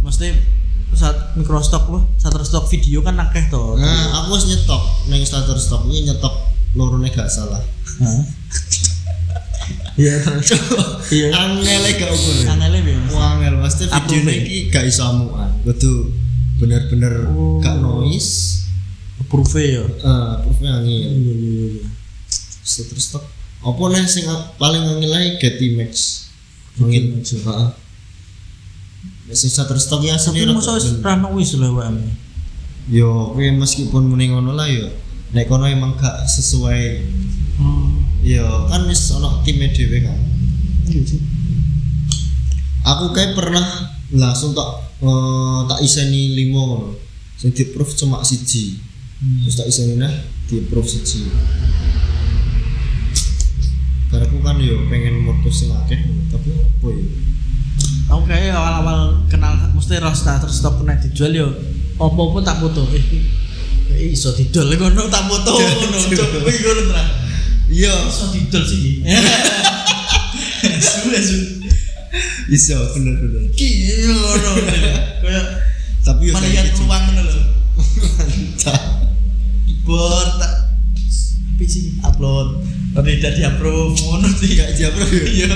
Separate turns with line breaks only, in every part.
Maksudnya saat microstock loh, shutterstock video kan akeh to.
Nah, aku wis nyetok ning starter stock iki nyetok lorone gak salah.
Hah? Iya terus. Iya.
Angele gak ukur.
Kanalnya biar.
Angel pasti video
Approving.
iki gak iso amukan. Kudu bener-bener
Oh.
gak noise.
Approve ya.
Eh, proofnya angel.
Iya iya iya.
Starter stock. Apa nih sing paling angel ae get image. Angel image. Heeh. Wis starter stock ya
Tapi
asli
masa wis rano wis lah wae.
Yo, kowe meskipun muni ngono lah yo. Nek kono emang gak sesuai
Hmm.
yo kan wis ono time dhewe kan.
Iya sih.
Aku kayak pernah langsung tak eh, tak iseni limo ngono. Sing di proof cuma siji. Terus tak iseni nah di proof siji. Karepku kan yo pengen modus sing akeh ngono, tapi apa yo?
Aku kayak awal-awal kenal mesti roh starter stock pernah dijual yo. Apa pun tak foto. Eh, eh, iso didol ngono tak foto ngono. Coba iki ngono tra.
Iya,
Iso didol sih. Suwe suwe.
iso bener bener.
Ki iya, ngono. Kayak
Tapi yo
melihat
saiki
peluang ngono lho.
mantap.
Keyboard tak tapi sih upload. Tapi tidak di-approve ngono sih.
Gak jabro yo.
Iya.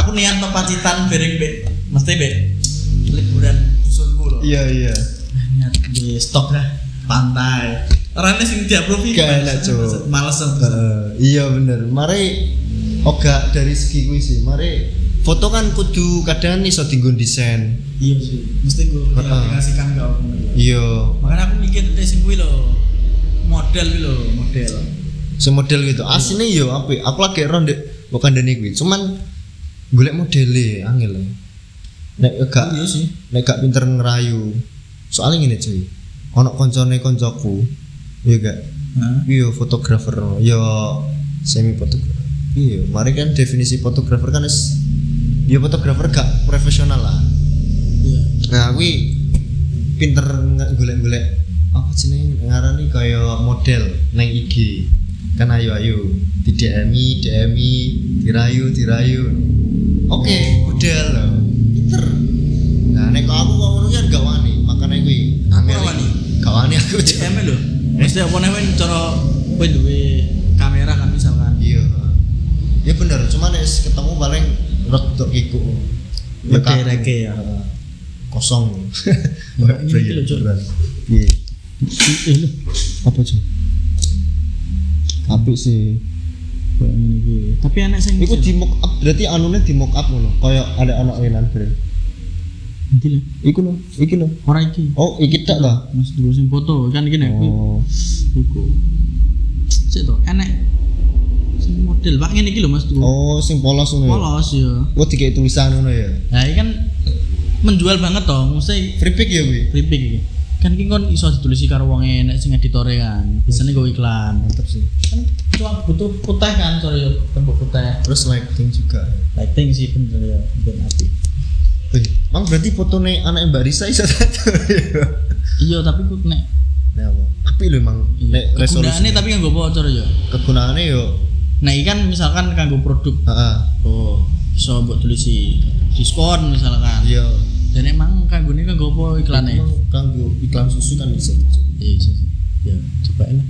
Aku niat no pacitan bereng be, mesti be liburan dusunku loh.
Iya iya.
Niat di stop lah pantai. Orangnya sing tiap profi.
Gak enak, Cuk.
Males aku.
Eh, iya bener. Mari oga dari segi kuwi sih. Mari foto kan kudu kadang iso dienggo desain.
Iya sih. Mesti gue
Heeh.
aplikasikan gak aku.
Iya,
Makanya aku mikir dari sing gue loh. Model gue loh, model.
semodel gitu.
Hmm.
Aslinya yo apik. Aku lagi ronde bukan dene kuwi. Cuman golek modele angel. ya. Nek gak
Iya sih.
nek gak pinter ngerayu. Soalnya ngene cuy. Ono koncone koncoku. Iya gak?
Nah,
Iya fotografer. Yo semi fotografer. Iya, mari kan definisi fotografer kan is ya fotografer gak profesional lah.
iya.
Nah, kuwi pinter nge- golek-golek apa jenenge ngarani kaya model nang IG. Kan ayo-ayo di DM-i, DM-i, dirayu, dirayu. Oke, model. Pinter. Nah, nek kok aku kok ngono kan gak wani, makane kuwi angel.
Ora wani?
Gak wani aku. Cuk.
DM loh. Mesti apa namanya cara gue duwe kamera kan misalkan.
Iya. Ya bener, cuman es ketemu paling rek iku.
Oke, oke ya.
kosong.
Ya, ini gitu loh, Cuk.
Iya.
Ih, Iya, lho.
Apa, Cuk? Apik sih.
Kayak ngene iki. Tapi anak sing
Iku di mock up berarti anune di mock up ngono, kaya ada anak wenan bre.
Nanti lho.
Iku lho, iki lho.
Ora iki.
Oh, iki tak ta?
Mas dulu sing foto kan gini aku.
Oh.
Iku. Sik to, enek sing model Pak ngene iki lho Mas dulu.
Oh, sing polos ngono. ya?
Polos ya.
Oh, dikei tulisan ngono ya.
Nah, ini kan menjual banget toh, mesti
Free pick ya kuwi.
flipping iki. Kan iki kon iso ditulisi karo wong enek sing editore kan. Biasanya gue iklan.
Mantap sih.
Kan cuma butuh putih kan, sorry yo, tembok putih.
Terus lighting juga.
Lighting sih bener ya, ben api.
Eh, mang berarti fotone anak Mbak Risa iso satu.
Iya, tapi ku nek
Nah, apa? Apik lho mang.
Iya.
Nek
kegunaannya
resolusi.
tapi kan gue bocor ya.
Kegunaane yo.
Nah, ini kan misalkan kanggo produk
Heeh.
Oh, iso mbok tulisi diskon misalkan.
Iya.
Dan emang kanggone kanggo apa iklane?
Mang kanggo iklan susu kan iso. Cuk.
Iya, iso sih. Ya, coba lah.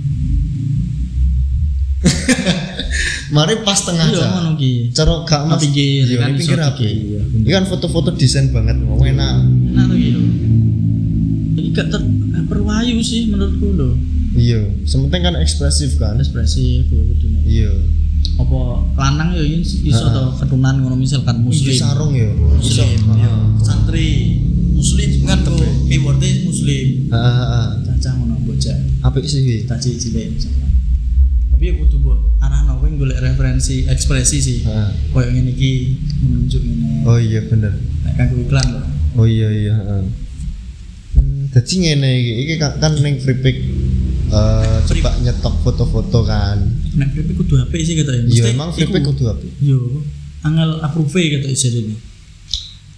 Mari pas tengah
Iya,
aja.
ngono ki.
Cara gak mas.
Pinggir,
Iya,
kan
ini
iso
pinggir apa?
dikei, iya, bener.
Ini kan foto-foto desain banget, mau enak.
Enak to ki lho. Iki gak ter gak perwayu sih menurutku lho.
Iya, sementing kan ekspresif kan.
Ekspresif ya kudune.
Iya.
Apa lanang ya yen iso
Ha-ha.
to ketunan ngono misalkan
Iya
muslim.
sarung ya. Iso.
Muslim, ya. Santri muslim kan kok keywordnya muslim.
Heeh, heeh.
Cacah ngono bocah.
Apik sih. Wi.
kita cilik cilik misalnya tapi aku tuh buat arah nawa yang golek referensi ekspresi sih
Heeh.
koyo ngene iki menunjuk ini
Oh iya bener.
nek kanggo iklan loh
Oh iya iya, heeh. Hmm, Dadi ngene iki, iki kan kan ning free pick eh
Free
coba nyetok foto-foto kan.
nek Flippy kudu HP sih kata ya
Iya emang free pick kudu apik.
yo angel approve kata isir ini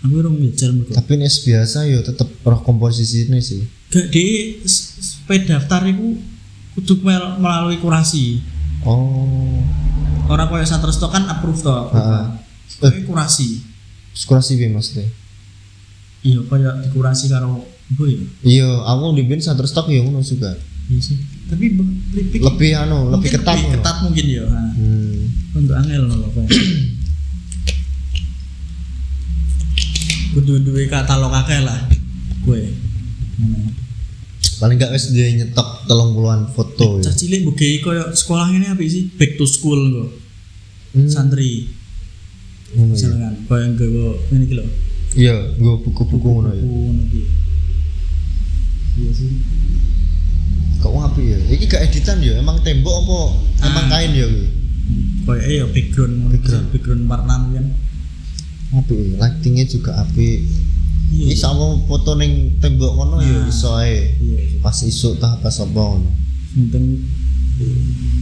aku urung ngejar mergo
Tapi nek biasa yo tetep roh komposisine sih.
gak di s- s- pendaftar iku kudu mel- melalui kurasi
Oh.
orang koyo Shutterstock kan approve to
Heeh.
Koyo kurasi
Kurasi piye maksudnya?
iya kayak dikurasi karo ibu ya
Iya, aku di bin satu stok ya ngono juga.
iya sih tapi be- lebih
Lebih anu,
mungkin
lebih ketat.
lebih
ngono.
ketat mungkin ya ha.
Hmm.
untuk angel loh kok kudu duwe katalog akeh lah gue
Paling gak wis dia nyetok telung puluhan foto ya.
cah cilik bukai koyo sekolah ini apa sih back to school kok
Hmm,
santri
ngono ya.
misalkan koyo yang gue ini gitu loh
Iya, gue buku-buku ngono ya.
Buku Oh, ngono iki. iya sih
Kok ngapi ya? Iki gak editan ya, emang tembok apa emang
Ah.
kain ya iki?
koyo eh ya background ngono iki,
Background.
background warna kan
Apik, ya, lightingnya juga apik.
iya
Iki sama foto ning tembok ngono
Ah.
ya iso ae.
iya iya.
Pas isuk tah pas apa ngono.
penting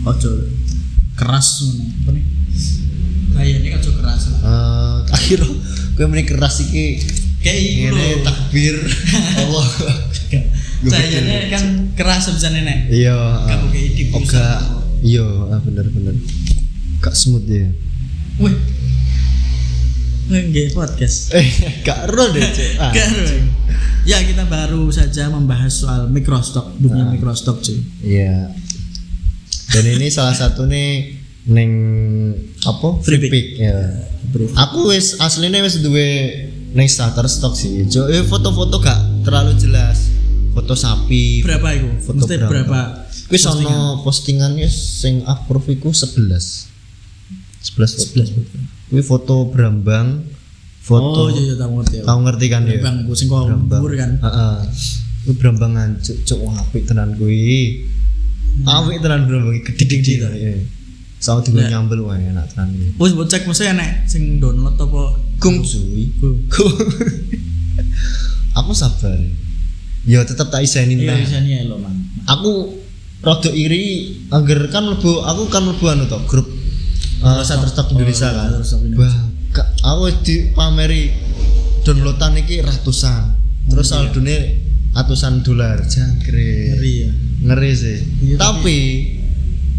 ojo keras ngono apa nih kayaknya kan ojo keras lah
Eh, akhirnya gue mending keras iki
kayak iku lho.
ini takbir Allah
Cahayanya kan keras bisa nenek.
iya
Gak pakai di pusat.
oga iya ah, bener bener gak smooth ya
Wih. Nggih podcast.
eh gak ero deh Cuk. Ah,
Garing. Ya kita baru saja membahas soal microstock, dunia
Ah.
microstock cuy.
iya dan ini salah satu nih neng apa
Free
free
pick.
pick ya
Bro.
aku wis aslinya wis duwe neng starter stock sih Cuk, eh, foto-foto gak terlalu jelas foto sapi
Berapa itu?
Foto
Mesti
berapa?
berapa?
Wis ono postingannya sing approve iku 11. 11 foto. 11. Kuwi foto
Oh
Brambang, foto
iya iya tahu ngerti.
Kamu ngerti kan ya?
Bang gue sing kok ngubur kan.
Heeh. Kuwi Brambang ngancuk cuk wah, apik tenan kuwi.
Hmm.
Apik tenan Brambang gede-gede to. Iya. Sama juga nyambel wae enak tenan kuwi.
Wis mbok cek mesti enek sing download apa?
Gung cuy.
Gue.
Aku sabar. Ya tetep tak isenin
Iya
lah.
bisa nih lo man.
aku rada iri angger kan lebu aku kan lebu anu to grup uh,
Oh,
Shutterstock Indonesia kan
Shutterstock Indonesia.
Wah, gak- aku dipameri downloadan iki ratusan
Hmm,
terus saldone ratusan dolar
iya.
jangkrik
Ngeri ya.
ngeri sih
Iya,
tapi,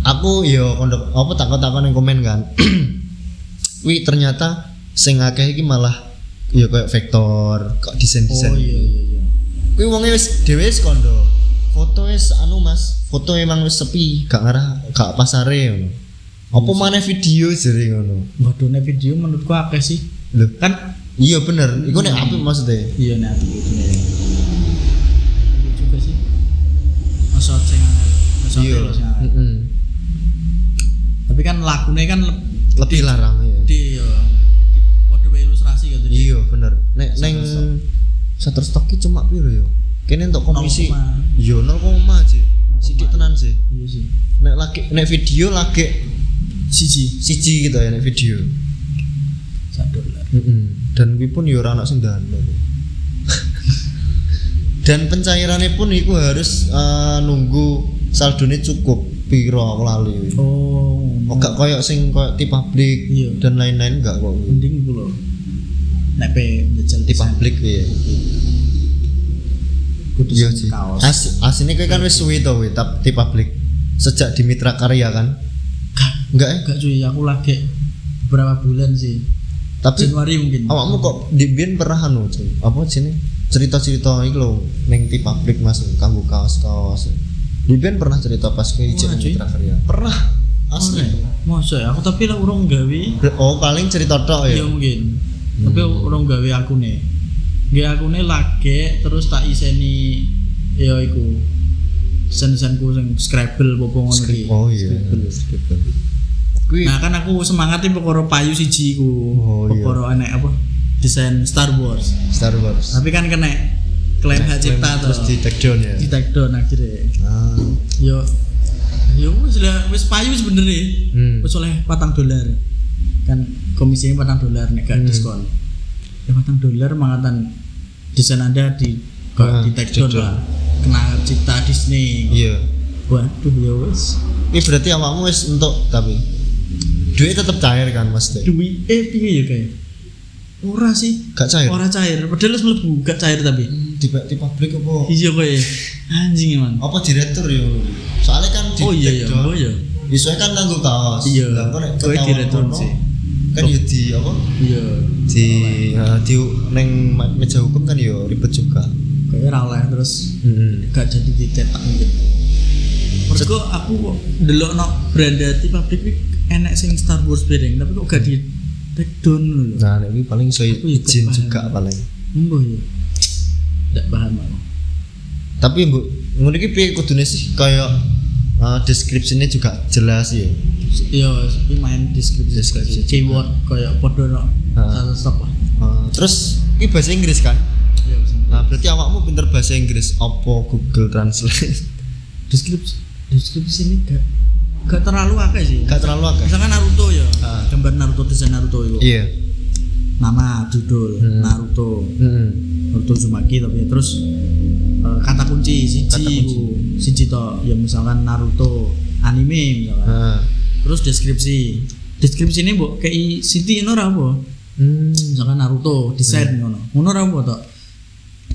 aku yo kondok apa takon-takon yang komen kan wi ternyata sing akeh iki malah ya kayak vektor kok
Oh
desain-desain
iya iya iya.
Kuwi wonge wis dhewe wis kondo. Foto wis anu Mas, foto emang wis sepi, gak ngarah gak pasare ngono. Apa
Hmm.
maneh video jare ngono.
Waduh, nek video menurutku akeh sih.
Lho,
Kan
iya bener. Iku nek apik maksudnya.
Iya nek aku itu nek. Iya juga sih. Masa sing angel. Masa sing
Iya.
angel.
Heeh.
Tapi kan lakune kan le-
Lebih larang ya.
di yo padha wae ilustrasi gitu.
Iya bener. Nek neng Shutterstock ki cuma piro ya? Kene untuk komisi.
Nol koma.
Yo 0, sih. Sithik tenan sih.
Iya sih.
Nek lagi nek video lagi
Siji
siji gitu ya nek video.
1 dolar.
Mm-mm. Dan kuwi pun yo ora ana sing download. Dan pencairannya pun iku harus eh, nunggu saldone cukup piro aku lali. Oh,
Oh, ngono.
gak koyok sing koyok tip publik
Iya.
dan lain-lain gak kok. kuwi.
mending iku lho. Nek pe njajal
Tip publik ya.
kudu
Iya
sing
sih.
kaos.
As asine kowe kan wis suwi to kuwi tap tip publik. Sejak di Mitra Karya kan?
Gak,
Enggak ya?
Gak cuy, aku lagi beberapa bulan sih.
Tapi
Januari mungkin.
awakmu kok dibien pernah anu cuy. Apa sini? Cerita-cerita iku lho ning tip publik Mas kanggo kaos-kaos. Dibien pernah cerita pas ke
Wah,
ijek
cuy.
Mitra Karya. Pernah. ya? Asli.
Masa ya? aku tapi lah urung gawe.
Oh, paling cerita tok
Ya
ya.
mungkin. Tapi
Hmm.
orang gawe aku nih. Gawe aku nih lagi terus tak iseni ya iku. Sen-senku sing Scrabble popo ngono iki.
Oh iya. Kuwi
Nah, kan aku semangati perkara payu siji iku.
Oh, iya.
perkara enek apa? Desain Star Wars.
Star Wars. Nah,
Tapi kan kena klaim hak cipta terus
terus di take down ya.
di take down akhirnya.
Ah.
Yo yo wis lah wis payu sebenernya.
Hmm.
wis oleh patang dolar kan komisinya patang dolar nek gak
Hmm.
diskon ya patang dolar mangatan desain anda di
Ah,
di take down
down.
lah kena cipta Disney
Iya.
waduh ya wis
Ini berarti awakmu wis entuk tapi duit tetap cair kan Mas Teh?
duwi eh piye ya kayak ora sih
Gak cair.
ora cair padahal wis mlebu gak cair tapi
Di, di publik apa?
iya kowe anjing man
Apa direktur ya? Soalnya kan di
oh iya
take
iya
down.
oh iya
Isunya kan nganggo kaos.
iya
Lah, kok nek
kowe
ketahuan
diretur
kono,
sih
kan yo di apa
Iya.
di eh, di neng ma- meja hukum kan yo ribet juga
Kayaknya ra oleh terus
hmm.
gak jadi dicetak gitu. Mergo aku kok ndelok no brandati pabrik iki enek sing Star Wars bareng tapi kok gak di take down lho.
nah nek ini paling so
Aku ikut
izin
paham.
juga paling
Mbah ya. Ndak paham aku.
tapi bu ngono iki piye kudune sih kayak eh, deskripsinya juga jelas ya
Iya, tapi main deskripsi deskripsi
Deskripsi
keyword koyo padha no
Ha.
satu stop lah.
Eh, terus ini bahasa Inggris kan
Iya, bisa.
nah berarti awakmu pinter bahasa Inggris apa Google Translate
deskripsi deskripsi ini gak gak terlalu akeh sih.
gak terlalu agak
Misalkan Naruto ya,
Ha.
gambar Naruto desain Naruto itu.
iya
Nama judul
Hmm.
Naruto.
hmm.
Naruto Uzumaki tapi ya terus eh, kata kunci
Kata
siji
kunci.
ku. siji to ya misalkan Naruto anime misalkan.
Ah.
Terus deskripsi. Deskripsi ini mbok kei Siti ngono ora apa?
Hmm.
Misalkan Naruto desain ngono. Ngono ora apa to?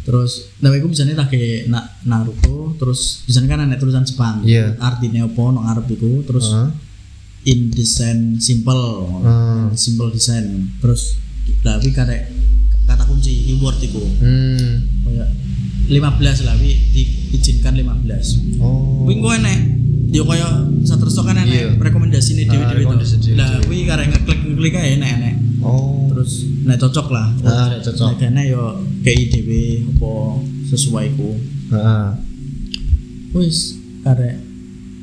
Terus nah iku misalnya tak kei na Naruto terus misalnya kan ana tulisan Jepang.
Iya.
Artine opo nang arep iku terus
Ah.
in design simple.
Ah.
Simple design. Terus tapi kata kata kunci keyword iku.
Hmm.
kayak 15 lah wi diizinkan 15
Oh.
kuwi engko enek yo kaya Shutterstock kan
Iya.
enek rekomendasine
Ah,
dhewe-dhewe
rekomendasi
to.
dhewe-dhewe.
Lah kuwi karek ngeklik ngeklik ae enek-enek.
Oh.
Terus nek cocok lah.
Ah, nek cocok.
Nek enek yo kei dhewe apa sesuai ku.
Heeh.
Wis karek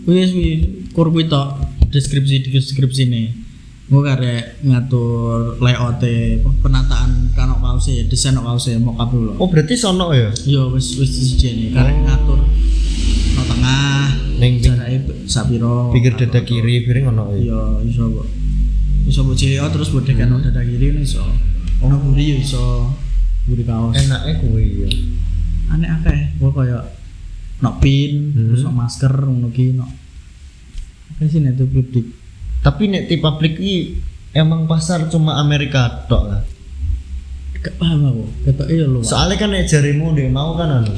wis wi kur kuwi to deskripsi deskripsine. Engko karek ngatur layout penataan kanok kause, desain kause mockup dulu.
Oh berarti sono ya?
Yo wis wis disijeni karek
Oh.
ngatur no tengah
Ning ping-
jarake sapiro
Pikir dada kiri piring ono ya.
yo iso kok iso mbok cilik oh, terus mbok dekano dada kiri ini iso ono buri yo iso buri kaos
Enaknya kuwi ya.
aneh akeh gua koyo no pin
Hmm.
terus no masker ngono ki no akeh sih nek publik
Tapi nek tipe publik iki emang pasar cuma Amerika tok lah.
gak paham aku ketoke yo luwak
Soalnya kan nek jarimu ndek mau kan anu.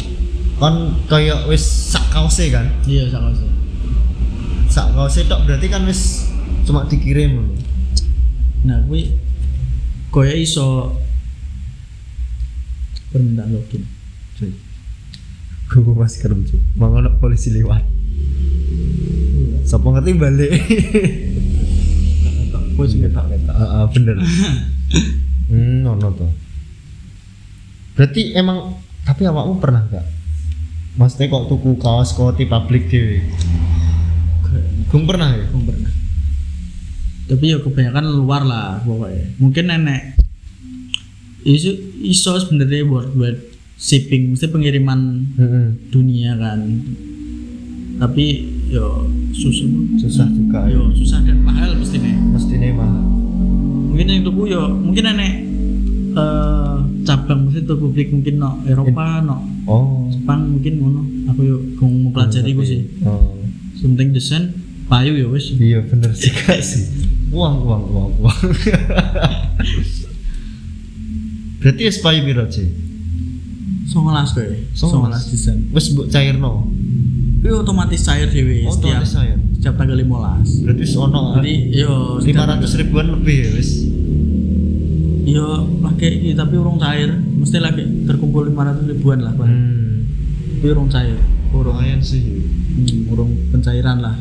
Kan kaya wis sak kaose kan.
iya sak kaos
Sak kaose tok berarti kan wis cuma dikirim.
nah kuwi koyo iso permintaan login
Cuy. Gue masker lucu. Mau ono polisi lewat. Sopo ngerti balik.
Wis ketok.
Heeh, Ah, bener. hmm, ono to. Berarti emang tapi awakmu pernah gak? Maksudnya kok tuku kaos koti publik dewe? Gung pernah ya?
Belum Oh, pernah. Tapi ya kebanyakan luar lah pokoknya. Mungkin nenek iso iso sebenarnya buat buat shipping, mesti pengiriman
Heeh.
dunia kan. Tapi yo susah.
Susah juga ya.
Yo susah dan mahal mesti nek.
Mestine mahal.
Mungkin yang tuku yo mungkin nenek eh cabang mesti tuh publik mungkin no Eropa no
Oh.
Jepang mungkin ngono. Aku yo gong mempelajari gue sih.
Oh.
Something desain payu ya wes.
Iya bener sih Kak, sih. Uang uang uang uang. Berarti es payu piro sih?
Songolas kowe. Songolas
Songolas.
desain.
Wes mbok cairno.
Kuwi otomatis cair dhewe Iya, setiap
Otomatis cair.
setiap tanggal 15.
Berarti sono
Jadi yo
lima
setiap-
ratus ribuan lebih ya wis.
Yo pakai iki tapi urung cair, mesti lagi terkumpul 500 ribuan lah, Pak.
Hmm.
Tapi urung cair, urung
Lumayan sih.
hmm, urung pencairan lah.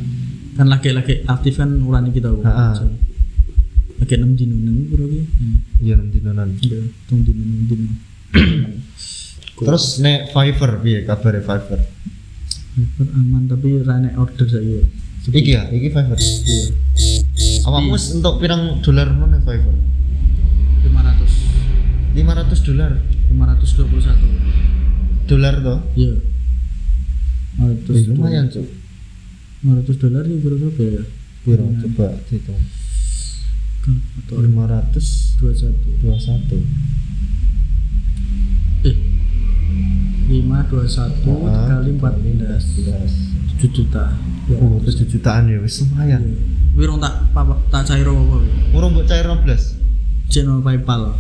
Kan lagi-lagi aktif kan ulan iki tau.
Ha-ha.
Lagi 6 dino 6 bro iki. Hmm.
Iya nanti nonan.
Iya, 6 dino 6 dino.
Terus nek Fiverr piye kabare Fiverr?
Fiverr aman tapi ra nek order saya.
Iki ya, iki Fiverr.
Iya.
Awakmu s- untuk pirang dolar mana Fiverr?
500
500 dolar.
521.
Dolar toh?
Iya.
Eh,
500
lumayan cuk.
500 dolar ya kira-kira berapa ya?
Piro coba dihitung.
Kalkulator
521.
21 Eh 521 kali 14 7 Ah. juta ya.
Oh, 7 jutaan ya wis lumayan.
Wirung tak papa- tak cair apa ya?
Urung mbok cair 15.
Channel Paypal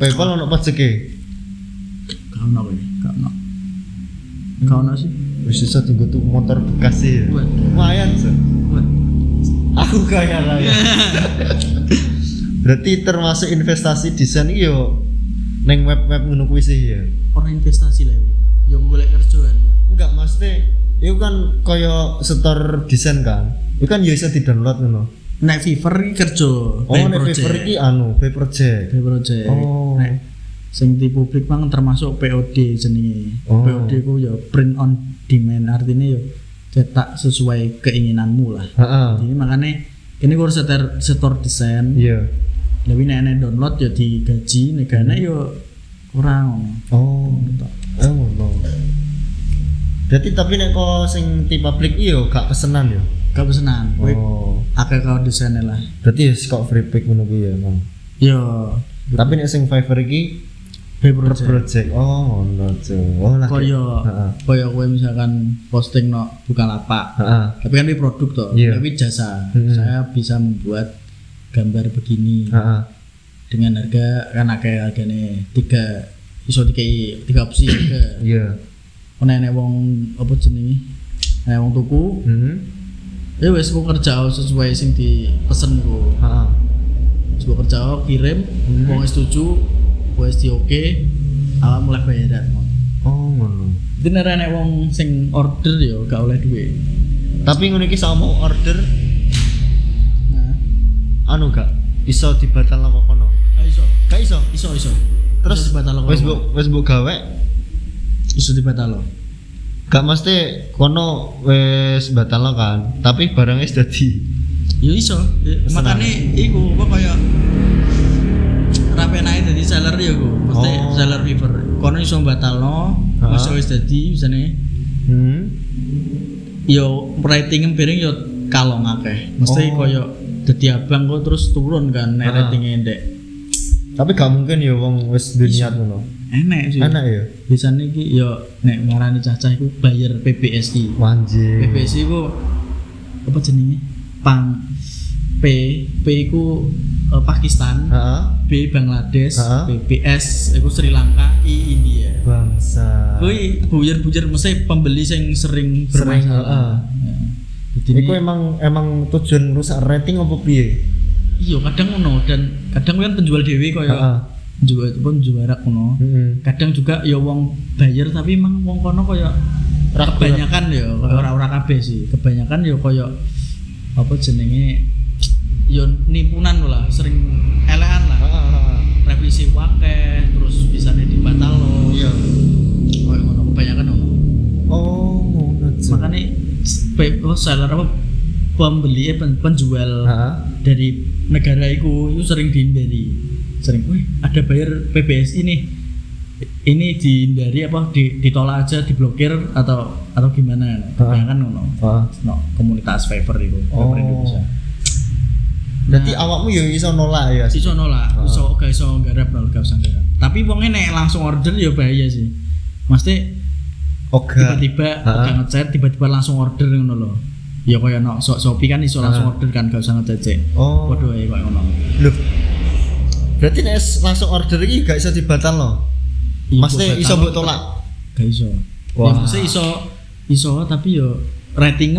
PayPal ono pajeke.
Gak ono kowe, gak ono
Hmm.
Gak ono sih
Wis iso dienggo tuku motor bekas sih. ya.
Buat
Lumayan, Cuk.
Buat
Aku kaya raya. Berarti termasuk investasi desain iki yo neng web-web ngono kuwi sih ya.
orang investasi lah ini. ya boleh kerjaan
Enggak maksudnya itu kan koyo setor desain kan. Itu kan yo iso di-download ngono.
naik fever ini kerja
Oh, nek paper iki anu, by project.
By project
Oh.
Nek sing di publik mang termasuk POD jenenge
Oh.
POD ku ya print on demand artinya ya cetak sesuai keinginanmu lah
Heeh.
jadi makanya ini gue harus setor, setor desain
Iya.
lebih nek nek download ya digaji negara yo ya kurang
Oh. Oh, ngono. Berarti tapi nek kok sing di publik iyo gak pesenan yo.
gak pesenan kowe
Oh.
akeh kau desainnya lah
Berarti ya kok free pick ngono kuwi ya, Mang.
yo
Tapi nek sing Fiverr iki
by
per
project
project. Oh, ngono cuy. Oh, lah.
koyo
Heeh.
koyo kowe misalkan posting no buka lapak
Heeh.
tapi kan ini produk toh
Iya.
tapi jasa
Mm-mm.
saya bisa membuat gambar begini
Heeh.
dengan harga kan akeh harganya tiga iso tiga tiga opsi tiga
Iya.
ono enek wong apa jenenge enek wong tuku
Hmm.
ya wis aku kerja sesuai sing dipesen ku
Heeh.
sebuah kerja aku kirim
Mm.
wong wis setuju wis di oke awak mulai bayaran
Oh, ngono.
itu nek enek wong sing order yo gak oleh duit
Tapi ngono iki sama order
nah
anu gak iso dibatalno apa kono.
ah, iso
Gak iso.
iso iso
Terus
Iso dibatalno
Wes
kono.
mbok wes mbok gawe
iso dibatalno
gak mesti kono wes batalno kan. Tapi barangnya sudah di
Ya iso. Ya,
Pesenan.
Makane iku apa kaya rapi naik dadi seller ya ku. Mesti
Oh.
seller fever. Kono iso batalno,
Ha.
wis wis dadi misane
Hmm.
ya ratinge piring ya kalong akeh. Mesti
Oh.
kaya dadi abang kok terus turun kan nek
Ha.
ratinge ndek.
Tapi gak mungkin ya wong wes
Iya.
dunia ngono.
Enak sih.
Enak ya.
Biasane iki ya nek ngarani cacah iku bayar PPSI.
Wanjing.
PPSI ku apa jenenge? Pang P P ku eh, Pakistan.
Heeh.
B Bangladesh,
Ha?
BPS, itu Sri Lanka, I India.
Bangsa.
Kui buyar-buyar mesti pembeli yang sering
Sering, heeh.
bermasalah. Ya. Jadi
Iku
ini-
emang emang tujuan rusak rating apa piye?
iya kadang ngono dan kadang kan penjual dewi
Heeh. Hmm.
kaya jual itu pun juara ngono.
Heeh.
Kadang juga ya wong bayar tapi emang wong kono kaya
Rak-
kebanyakan ya kaya ora-ora kabeh sih. Kebanyakan ya kaya apa jenenge ya nimpunan lah, sering elean lah. Iya. Revisi wakai, terus bisa dibatal loh.
Iya.
Oh, yang ngono kebanyakan ngono.
Oh, ngono. cuy.
Makanya iya. pe- oh, seller apa pembeli eh, pen- penjual
Heeh.
dari negara itu itu sering dihindari. Sering, wih ada bayar PBSI nih. Ini dihindari apa di- ditolak aja, diblokir atau atau gimana? Kebanyakan ngono.
Heeh.
No, komunitas favor itu, favor
Ah. Oh.
Indonesia. Nah.
Berarti awakmu yo iso nolak ya.
Iso nolak,
Heeh.
iso gak iso nggarap lah, gak usah nggarap. Tapi wongnya nek langsung order ya bahaya sih. Mesti
Oke.
tiba-tiba
Ha-ha.
gak ngechat tiba-tiba langsung order ngono lho ya kaya no sok Shopee kan iso langsung order kan gak usah ngechat cek
Oh.
waduh ya kaya ngono
Loh. Berarti nek langsung order iki gak iso dibatalno.
Iya,
Maksudnya
buat
iso
tamu
mbok
tetep
tolak.
gak iso
Wah.
ya mesti iso iso tapi yo rating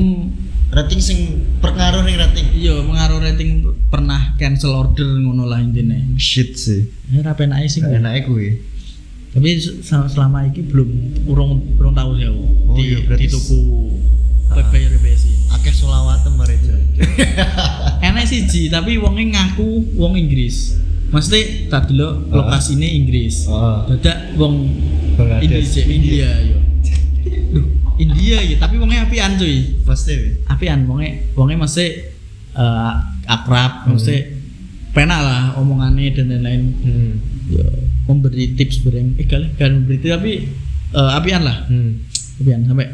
Rating sing pengaruh ning rating.
iya mengaruh rating pernah cancel order ngono lah intine
Shit sih.
ya ra penake sih
Gak enake kuwi.
tapi se- selama ini belum urung urung tahu sih aku
Oh,
di,
iya, berarti
di tuku bayar PBSI
Akeh solawat mereka.
enak sih Ji, tapi wongnya ngaku wong Inggris mesti tadi lo
Ah.
lokasi ini Inggris
Heeh.
dadak wong
Bangladesh.
Indonesia India yo Duh, India ya tapi wongnya apian cuy
Pasti. weh.
apian wongnya wongnya masih eh, akrab mesti pena lah omongannya dan lain-lain
Hmm.
Yo, memberi tips bareng eh kali kan memberi tips tapi eh, apian lah
Hmm.
apian sampai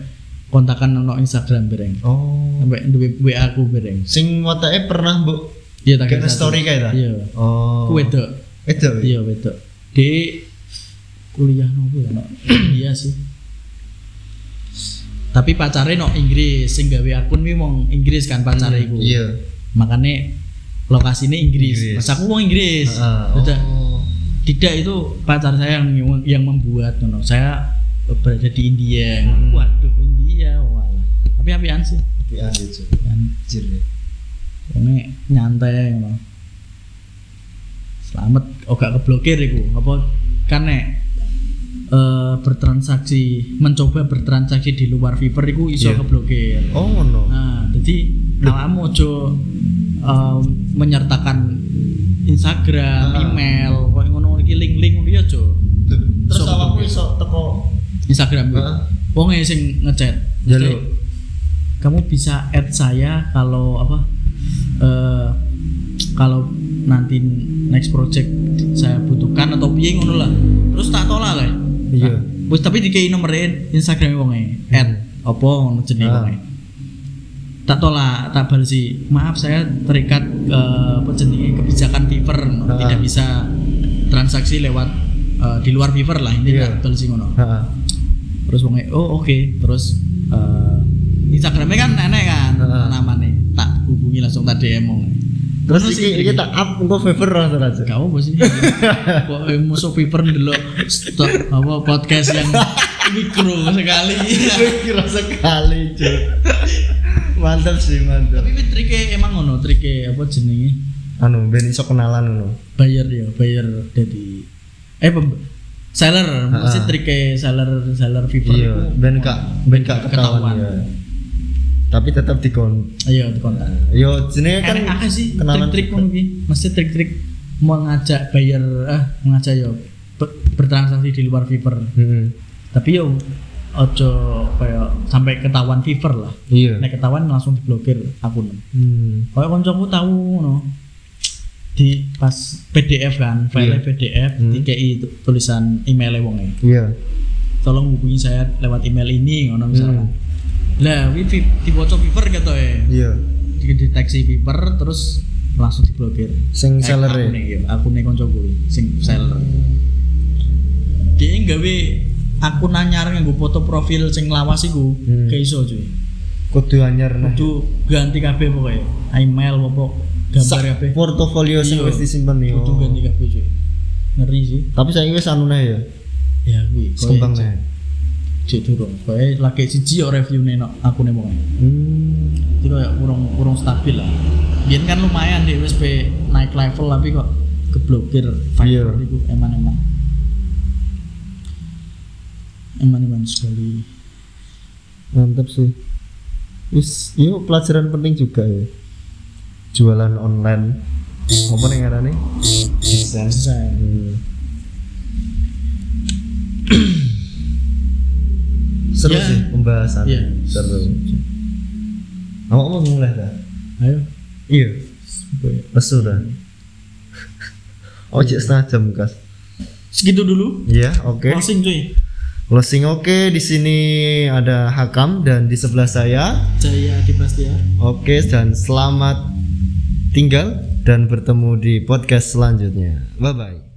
kontakan nong Instagram bareng
Oh.
sampai duwe WA aku bareng
Sing watake pernah mbok
iya
Kayak story kayak ta?
iya
Oh.
aku wedok
Wedok. weh?
iya wedok di kuliah nopo ya
Hmm.
no iya sih tapi pacarnya no Inggris sing gawe akun kuwi wong Inggris kan pacare iku
Iya.
makanya lokasinya Inggris,
Inggris.
Mas aku wong Inggris
Heeh.
tidak
Oh.
tidak itu pacar saya yang yang membuat no, no. saya eh, berada di India
Hmm.
waduh India walah tapi apian sih
Tapi aneh cuy.
kan
Anjir. weh.
ini nyantai no. Selamat oh gak keblokir iku. Apa kan nek eh, bertransaksi mencoba bertransaksi di luar Viper iku iso
Iya.
keblokir.
Oh ngono.
Nah, jadi awakmu ojo um, menyertakan Instagram,
Ah.
email, kok ngono iki link-link ngono ya ojo.
Loh, Terus
Sok
awakmu
keblokir.
iso teko
Instagram gue.
Ah.
Wong e sing ngechat. Mesti,
Jalo.
Kamu bisa add saya kalau apa? eh kalau nanti next project saya butuhkan atau piye ngono lah. Terus tak tolak lah.
Iya. Hmm.
Nah, Wis tapi dikei nomere Instagram wong e. Add apa ngono jenenge
Ah.
wong e. Tak tolak, tak balesi. Maaf saya terikat eh, apa jenenge kebijakan Viper,
Ah.
tidak bisa transaksi lewat eh, di luar Viper lah ini
Iya.
tak balesi ngono
Heeh.
terus wongnya oh oke terus eh Instagramnya kan enak kan
Heeh.
namanya tak hubungi langsung tak DM wong. e.
Terus
Terus
iki iki tak up engko favor langsung aja.
gak apa sih kok eh, musuh Viper dulu stop apa podcast yang mikro sekali
Kira sekali cuy. Mantap sih mantap.
tapi ini triknya emang ngono triknya apa jenenge
Anu ben iso kenalan ngono.
buyer ya buyer dari eh pem- seller maksudnya triknya seller seller Viper
Iya,
itu
ben gak ben gak
Ketahuan.
ketahuan. iya. Tapi tetap dikon.
ayo dikontak
Yo jenenge kan
kan apa sih
kenalan
trik-trik ngono kuwi? Mesti trik-trik mengajak buyer eh mengajak yo be- bertransaksi di luar Viper.
Heeh.
Tapi yo ojo kaya sampai ketahuan Viper lah.
Iya.
Nek ketahuan langsung diblokir akun.
Hmm.
Kaya kancaku tahu ngono. Di pas PDF kan, file PDF
Hmm.
dikei tu- tulisan email wonge.
Iya.
Tolong hubungi saya lewat email ini ngono misalnya.
Hmm.
Lah, wi vi- dibaca Viper gitu ya.
Iya.
Dideteksi Viper terus langsung diblokir.
Sing seller
Eh,
e,
aku nih aku nih konco gue sing seller dia gawe aku nanyar nganggo foto profil sing lawas iku
Hmm.
ke iso cuy
kudu anyar nah.
itu ganti kabeh pokoknya email apa gambar
Sak oh.
kabeh
portofolio sing
Iya.
wis disimpen yo.
itu ganti kabeh cuy ngeri sih
Tapi saiki wis anu nah ya.
ya gue
Kembang nah.
cek turun kayak lagi siji yo review nih aku nih pokoknya
Hmm.
jadi kayak kurang kurang stabil lah Biar kan lumayan deh wis pe naik level tapi kok keblokir Fiverr
Iya.
itu eman eman eman eman sekali
Mantap sih. Wis, yo pelajaran penting juga ya. Jualan online. Apa nih ngarane? Desain.
selesai
Hmm. Seru
Ya.
sih pembahasan.
Iya.
Seru. Awak mau mulai dah?
ayo
Iya.
supaya-
Lesu dah. Ojek setengah jam kas.
segitu dulu
Iya, oke.
closing cuy
Closing oke. Di sini ada Hakam dan di sebelah saya.
Jaya Adi Bastia
Oke dan selamat tinggal dan bertemu di podcast selanjutnya. Bye bye.